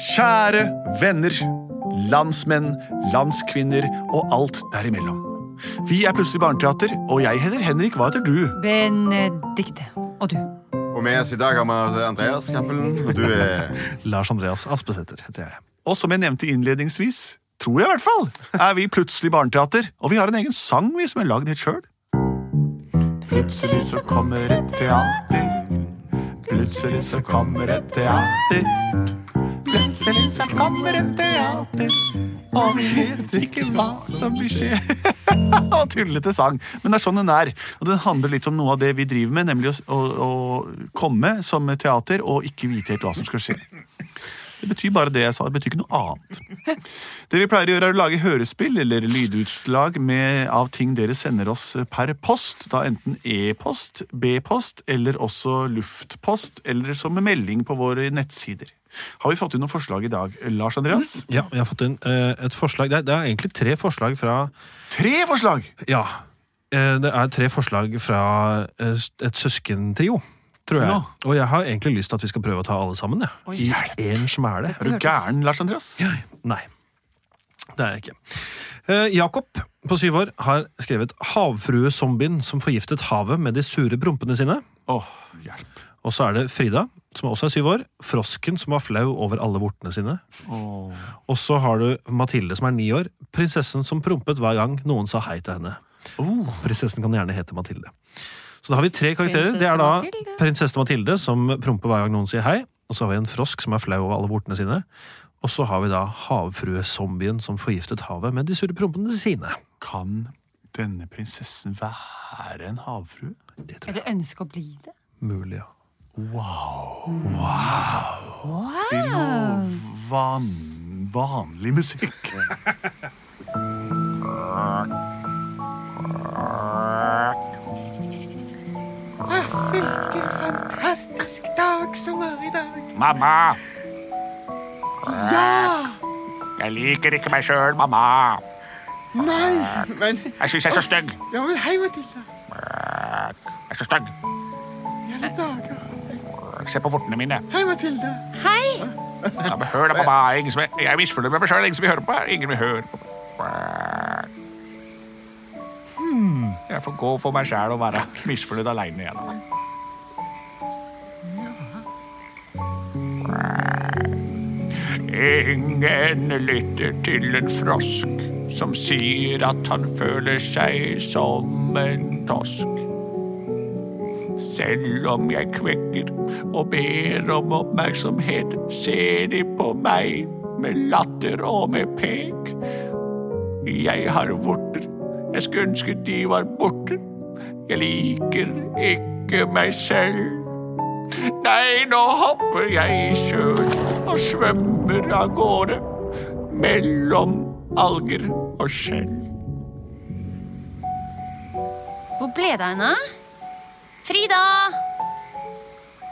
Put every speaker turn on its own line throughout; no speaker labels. Kjære venner, landsmenn, landskvinner og alt derimellom. Vi er plutselig barneteater, og jeg heter Henrik. Hva heter du?
Benedikte. Og du.
Og med oss i dag har vi altså Andreas Cappelen, og du er
Lars Andreas Aspesæter heter jeg.
Og som jeg nevnte innledningsvis, tror jeg i hvert fall, er vi plutselig barneteater. Og vi har en egen sang vi som er lagd helt sjøl. Plutselig så kommer et teater. Plutselig så kommer et teater. Plutselig så kommer et teater. Og vi vet ikke hva som vil skje. Og tullete sang. Men det er sånn den er. Og den handler litt om noe av det vi driver med, nemlig å, s- å, å komme som teater og ikke vite helt hva som skal skje. Det betyr bare det jeg sa, det betyr ikke noe annet. Det vi pleier å gjøre er å lage hørespill eller lydutslag med, av ting dere sender oss per post. Da enten e-post, b-post eller også luftpost, eller som en melding på våre nettsider. Har vi fått inn noen forslag i dag, Lars Andreas?
Ja, jeg har fått inn eh, et forslag. Det er, det er egentlig tre forslag fra
Tre forslag!
Ja. eh, det er tre forslag fra eh, s- et søskentrio, tror jeg.
Ja.
Og jeg har egentlig lyst til at vi skal prøve å ta alle sammen, jeg. I én smæle.
Er du gæren, Lars Andreas?
Nei. Det er jeg ikke. Eh, Jakob på syv år har skrevet 'Havfruezombien som forgiftet havet med de sure prompene sine'.
Åh, hjelp.
Og så er det Frida, som også er syv år. Frosken som var flau over alle vortene sine. Og så har du Mathilde, som er ni år. Prinsessen som prompet hver gang noen sa hei til henne. Prinsessen kan gjerne hete Mathilde. Så da har vi tre karakterer. det
Prinsesse
er da
Mathilde.
prinsesse Mathilde, som promper hver gang noen sier hei. Og så har vi en frosk som er flau over alle vortene sine. Og så har vi da havfruezombien som forgiftet havet med de sure prompene sine.
Kan denne prinsessen være en havfrue?
Det tror jeg
Eller ønsker å bli det.
er mulig, ja.
Spill noe van, vanlig musikk.
Ah, Hvilken fantastisk dag som er i dag.
Mamma,
Ja!
jeg liker ikke meg sjøl, mamma.
Nei, men
Jeg syns jeg er så stygg.
Ja vel, hei, Matilda.
Jeg er så stygg.
I alle dager.
Se på vortene mine.
Hei, Matilda.
Ja, men hør da, mamma. Ingen som er, jeg er misfornøyd med meg sjøl. Ingen som vil høre på meg. Ingen vil høre på meg. Hmm, Jeg får gå for meg sjæl og være misfornøyd aleine igjen. da. Ingen lytter til en frosk som sier at han føler seg som en tosk. Selv om jeg kvekker og ber om oppmerksomhet, ser de på meg med latter og med pek. Jeg har vorter, jeg skulle ønske de var borte. Jeg liker ikke meg selv. Nei, nå hopper jeg i sjøen og svømmer av gårde mellom alger og skjell.
Hvor ble det av henne? Frida!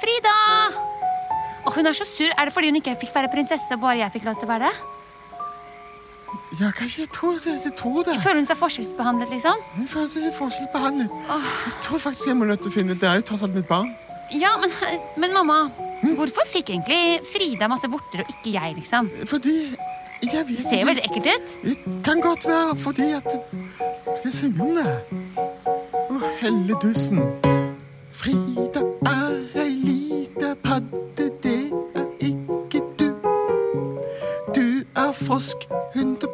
Frida! Å, hun er så sur. Er det fordi hun ikke fikk være prinsesse, bare jeg fikk lov til å være det?
Ja, kanskje jeg tror det. Jeg tror det.
Føler hun seg forskjellsbehandlet, liksom?
Hun føler seg litt forskjellsbehandlet. Jeg tror faktisk jeg må nødt til å finne ut. Det er jo tross alt mitt barn.
Ja, men, men mamma, hvorfor fikk egentlig Frida masse vorter og ikke jeg, liksom?
Fordi jeg vet
Det ser jo veldig ekkelt ut.
Det kan godt være fordi at Skal jeg synge om det? Å, helledussen. Frida er ei lita padde, det er ikke du. Du er frosk 100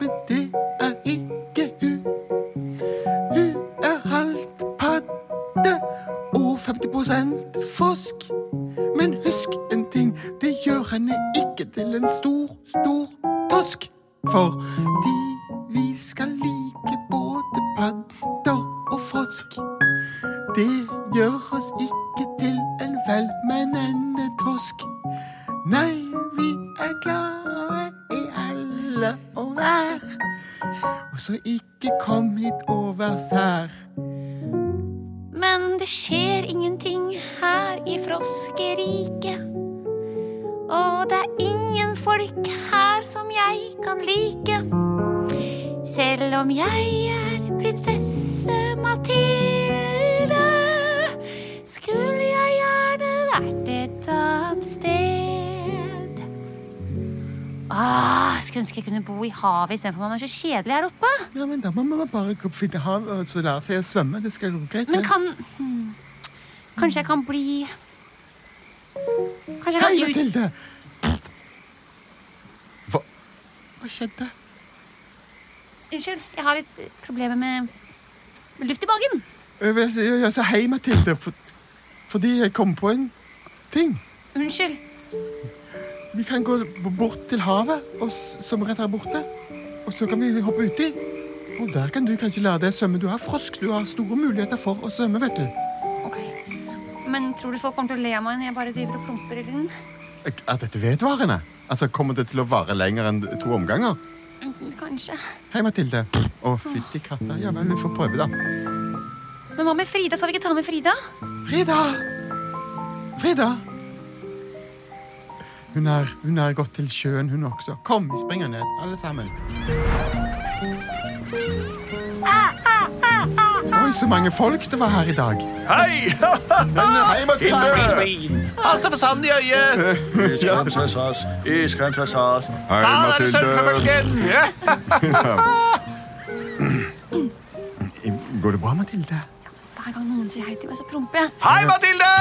men det er ikke hun. Hun er halvt padde og 50 frosk. Men husk en ting, det gjør henne ikke til en stor, stor tosk. Fordi vi skal like både padder og frosk. Det gjør oss ikke til en velmenende tosk. Nei, vi er glade i alle og hver. Og så ikke kom hit over sær.
Men det skjer ingenting her i froskeriket. Og det er ingen folk her som jeg kan like. Selv om jeg er prinsesse Mathilde, skulle jeg gjerne vært et annet sted. Ah, skulle ønske jeg kunne bo i havet istedenfor man er så kjedelig her oppe.
Ja, men da må man bare gå- finne hav og så lære seg å svømme. Det skal gå greit.
Men
det.
kan hmm, Kanskje jeg kan bli Kanskje jeg
Hei,
kan ut...
Mathilde!
Hva?
Hva skjedde?
Unnskyld, jeg har litt problemer med, med luft i magen.
Jeg, vil si- jeg sa hei, Mathilde, for, fordi jeg kom på en ting.
Unnskyld.
Vi kan gå b- bort til havet, og, s- som rett her borte. Og så kan vi hoppe uti. Og der kan du kanskje lære deg å svømme. Du er frosk. Du har store muligheter for å svømme, vet du.
Ok. Men tror du folk kommer til å le av meg når jeg bare driver og plumper i den?
Er dette vedvarende? Altså, Kommer det til å vare lenger enn to omganger?
Kanskje.
Hei, Mathilde. Å, fytti katta. Ja vel, vi får prøve, da.
Men hva med Frida? Skal vi ikke ta med Frida?
Frida! Frida! Hun er, hun er gått til sjøen, hun også. Kom, vi springer ned, alle sammen. Oi, så mange folk det var her i dag.
Hei!
Men
Ah!
hei, Mathilde!
Hasta for Ah, sand i øyet!
Iskremsasas, iskremsasas.
Ta
Hei,
deg en
Mathilde.
surfebølgen! Ja.
Går det bra, Mathilde?
Hver gang noen sier hei til meg, så promper jeg.
Hei, Mathilde!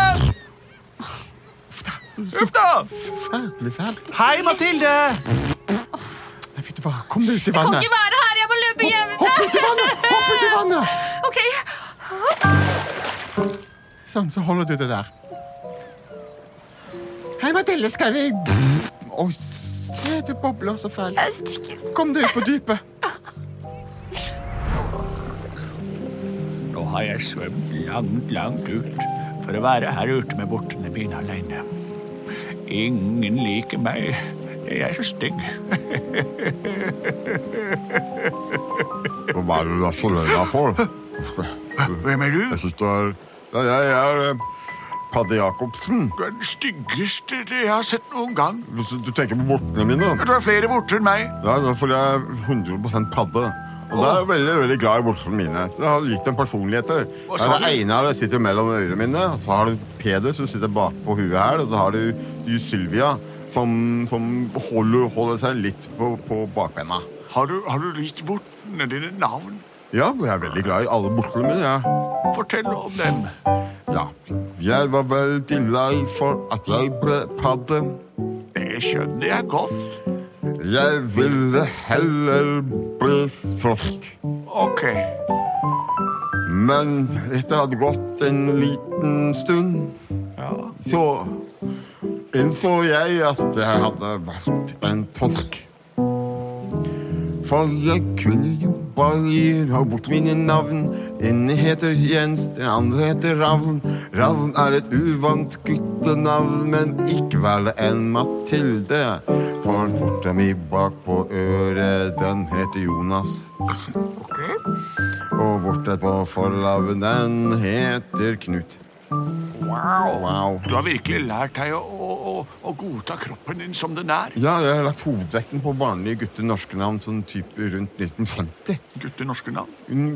Uff da!
Fælt, fælt.
Hei, Mathilde!
Nei, vet du hva, kom deg ut i
Jeg kan
vannet.
ikke være her! Jeg må løpe hjem!
Hopp ut i vannet! Hopp ut i vannet!
Ok.
Sånn, så holder du det der. Hei, Mathilde, skal vi Å, se, det bobler så fælt.
Jeg stikker.
Kom deg ut på dypet.
Nå har jeg svømt langt, langt ut for å være her ute med vortene mine alene. Ingen liker meg. Jeg er så stygg.
Hva er det du er så lei deg for?
Hvem er
Jeg
du?
synes du er Ja, jeg er eh, Padde Jacobsen.
Du er den styggeste jeg har sett noen gang.
Du du tenker på vortene mine.
Du har flere vorter enn meg.
Ja, det er fordi jeg er 100 padde. Og da er jeg veldig veldig glad i voksne mine. Jeg har likt en personlighet. der.
Hva
Her
sa
er det Einar som sitter mellom ørene mine. og Så har du Peder som sitter bak på huet her. Og så har du, du Sylvia som, som holder, holder seg litt på, på bakbeina.
Har du, har du gitt vortene dine navn?
Ja, jeg er veldig glad i alle voksne mine. jeg.
Fortell om dem.
Ja. Jeg var veldig lei for at jeg ble padde.
Det skjønner jeg godt.
Jeg ville heller bli frosk.
Ok.
Men etter at det hadde gått en liten stund, så innså jeg at jeg hadde vært en tosk. For jeg kunne jo bare ha bort mine navn. Ene heter Jens, den andre heter Ravn. Ravn er et uvant guttenavn, men ikke vær det en Mathilde. For forta mi bak på øret, den heter Jonas. Og vorta på forlaven, den heter Knut.
Wow.
Wow.
Du har virkelig lært deg å, å, å- å godta kroppen din som den er.
Ja, jeg har lagt hovedvekten på vanlige gutter norske navn sånn type rundt 1950.
Gutter norske navn.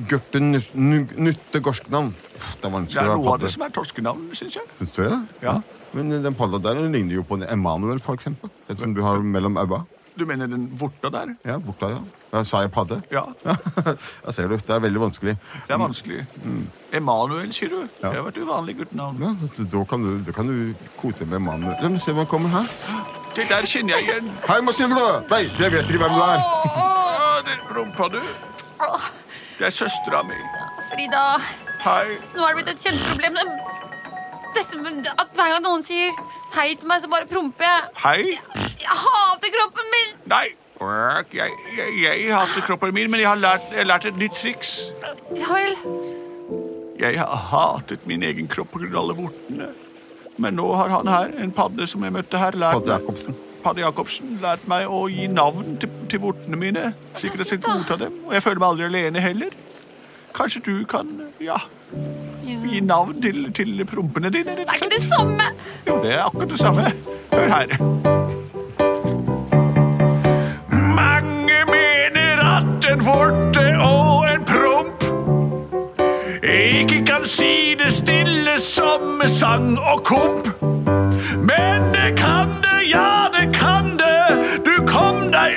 Gutte nutte gorske navn. Pff, Det er
Det
vanskelig
er
å
noe
være
av det
padde.
som er torskenavn, syns jeg.
Syns du det?
Ja.
Men eh, den padda der den ligner jo på en Emanuel, for eksempel. Den som du har mellom øya.
Du mener den vorta der?
Ja, borta, ja. ja. Sa jeg padde?
Ja.
Jeg ser du. Det er veldig vanskelig.
Det er vanskelig. Emanuel, sier du?
Ja.
Det var et uvanlig guttenavn.
Ja, så da kan du, da kan du kose med Emanuel. La meg se hva kommer her.
Det der kjenner jeg igjen.
Hei, Mathilde! Nei, jeg vet ikke hvem du er.
Å, den rumpa, du.
Åh,
Det er søstera mi.
Frida,
Hei.
nå har det blitt et kjempeproblem. Dette, at hver gang noen sier hei til meg, så bare promper jeg.
Hei.
Jeg hater kroppen min!
Nei. Jeg, jeg, jeg hater kroppen min, men jeg har lært, jeg har lært et nytt triks.
Ja vel.
Jeg har hatet min egen kropp pga. alle vortene. Men nå har han her, en padde som jeg møtte her, lært
Padde Jacobsen.
Padde Jacobsen lært meg å gi navn til, til vortene mine. Slik at jeg skal godta dem. Og jeg føler meg aldri alene heller. Kanskje du kan ja, gi navn til, til prompene dine?
Det er ikke det samme!
Jo, det er akkurat det samme. Hør her. Mange mener at en vorte og en promp ikke kan si det stille som med sang og komp. Men det kan det, ja, det kan det. Du kom deg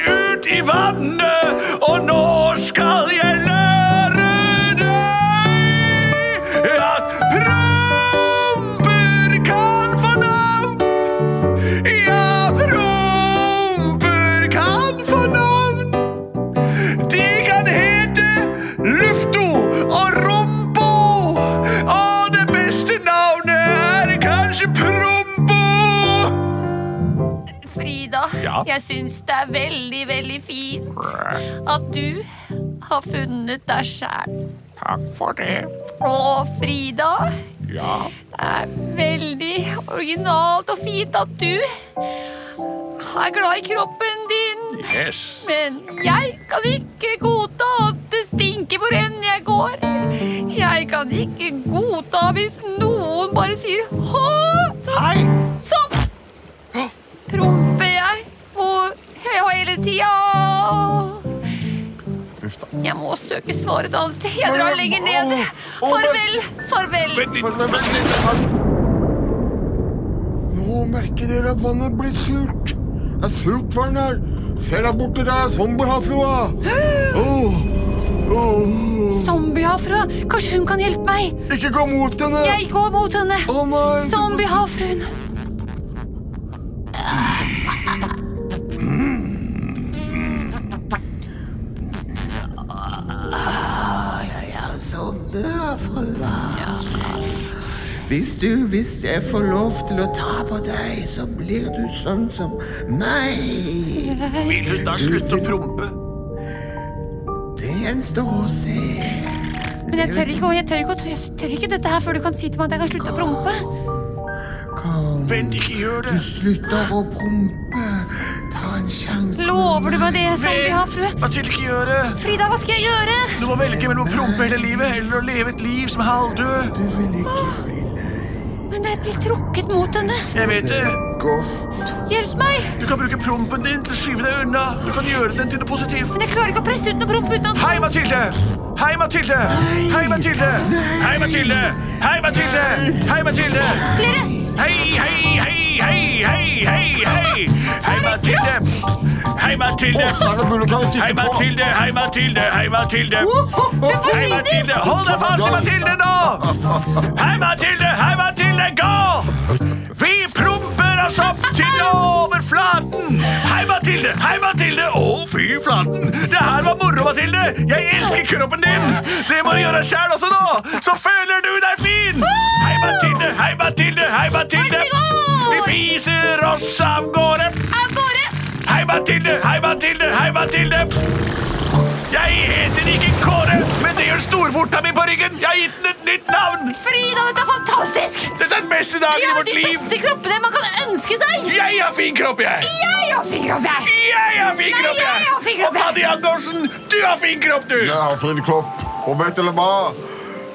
Frida,
Ja?
jeg syns det er veldig, veldig fint at du har funnet deg sjæl.
Takk for det.
Å, Frida,
Ja,
det er veldig originalt og fint at du er glad i kroppen din.
yes.
Men jeg kan ikke godta at det stinker hvor enn jeg går. Jeg kan ikke godta hvis noen bare sier hå, så,
Hei!
så promper jeg hvor he- hele tida.
Uff da.
Jeg må søke svaret et annet sted. Jeg drar lenger ned. Farvel, farvel.
Vent litt.
For- men- men- men- Nå merker dere at vannet blir surt. Det er surt vann her. Se der borte, der er zombiehavfrua. Åh, åh.
Zombiehavfrua, kanskje hun kan hjelpe meg?
Ikke gå mot henne!
Jeg går mot henne.
Å nei!
Zombiehavfruen.
Hvis du, hvis jeg får lov til å ta på deg, så blir du sånn som meg.
Vil hun da slutte å prompe?
Det gjenstår å se.
Men jeg tør ikke, jeg tør ikke, jeg tør ikke dette her før du kan si til meg at jeg kan slutte å prompe.
Kom,
Vent, ikke gjør det.
du slutter å prompe. Ta en sjanse.
Lover du meg det, zombiehafrue?
Mathilde, ikke gjør det.
Frida, hva skal jeg gjøre?
Du må velge mellom å prompe hele livet eller å leve et liv som er halvdød.
Du vil ikke bli
Men jeg blir trukket mot henne.
Jeg vet det.
godt.
Hjelp meg!
Du kan bruke prompen din til å skyve deg unna. Du kan gjøre den til noe positivt.
Men jeg klarer ikke å presse ut noe promp uten at
Hei, Mathilde! Hei, Mathilde! Hei, Mathilde! Hei, Mathilde! Hei, Mathilde! Hei, Mathilde!
flere!
Hei, hei, hei, hei, hei, hei, hei! Hei, Mathilde! Hei, Mathilde!
Er det mulig? Kan vi sitte
Hei,
på?
Mathilde! Hei, Mathilde! Hei, Mathilde!
Du
Hei, Mathilde!
forsvinner!
Hold deg fast i Mathilde nå! Hei, Mathilde! Hei, Mathilde! Gå! Vi promper oss opp til overflaten! Hei, Mathilde! Hei, Mathilde! Å, fy flaten! Det her var moro, Mathilde! Jeg elsker kroppen din! Det må du gjøre sjæl også nå! Så føler du deg fin! Hei, Mathilde! Hei, Mathilde! Hei, Mathilde! Vi fiser oss av gårde!
Av gårde!
Hei, Mathilde! Hei, Mathilde! Hei, Mathilde! Jeg heter ikke Kåre, men det gjør storvorta mi på ryggen. Jeg har gitt den et nytt navn.
Frida, dette er fantastisk!
Dette er den beste dagen
Vi
i
har
vårt
de
liv.
beste kroppene man kan ønske seg!
Jeg har fin kropp, jeg.
Jeg har fin kropp, jeg!
Jeg har fin
Nei,
kropp,
jeg har fin kropp,
Og Paddy Andersen, du har fin kropp, du.
Jeg har fin kropp. Og vet dere hva?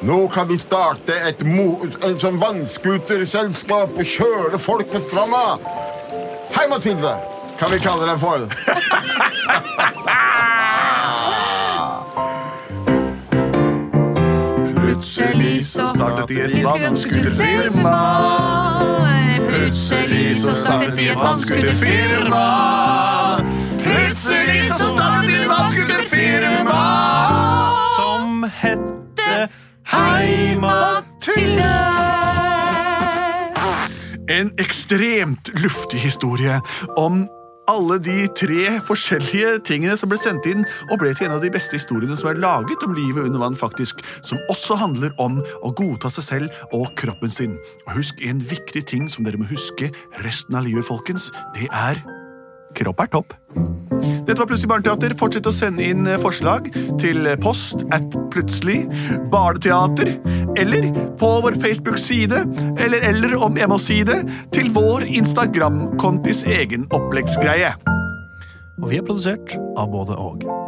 Nå kan vi starte et, mo en sånn vannskuterselskap og kjøre folk på stranda. Hei, Mathilde. Kan vi kalle deg for?
Plutselig så
Startet i et
vannskuterfirma. Plutselig så startet de et vannskuterfirma. Plutselig så startet de et vannskuterfirma.
Som hette Hei,
En ekstremt luftig historie om alle de tre forskjellige tingene som ble sendt inn og ble til en av de beste historiene som er laget om livet under vann, faktisk, som også handler om å godta seg selv og kroppen sin. Og husk en viktig ting som dere må huske resten av livet, folkens. Det er kropp er topp. Dette var Plutselig barneteater. Fortsett å sende inn eh, forslag til eh, post at plutselig barneteater, eller på vår Facebook-side, eller, eller om jeg må si det, til vår Instagram-kontis egen oppleggsgreie.
Og vi er produsert av både og.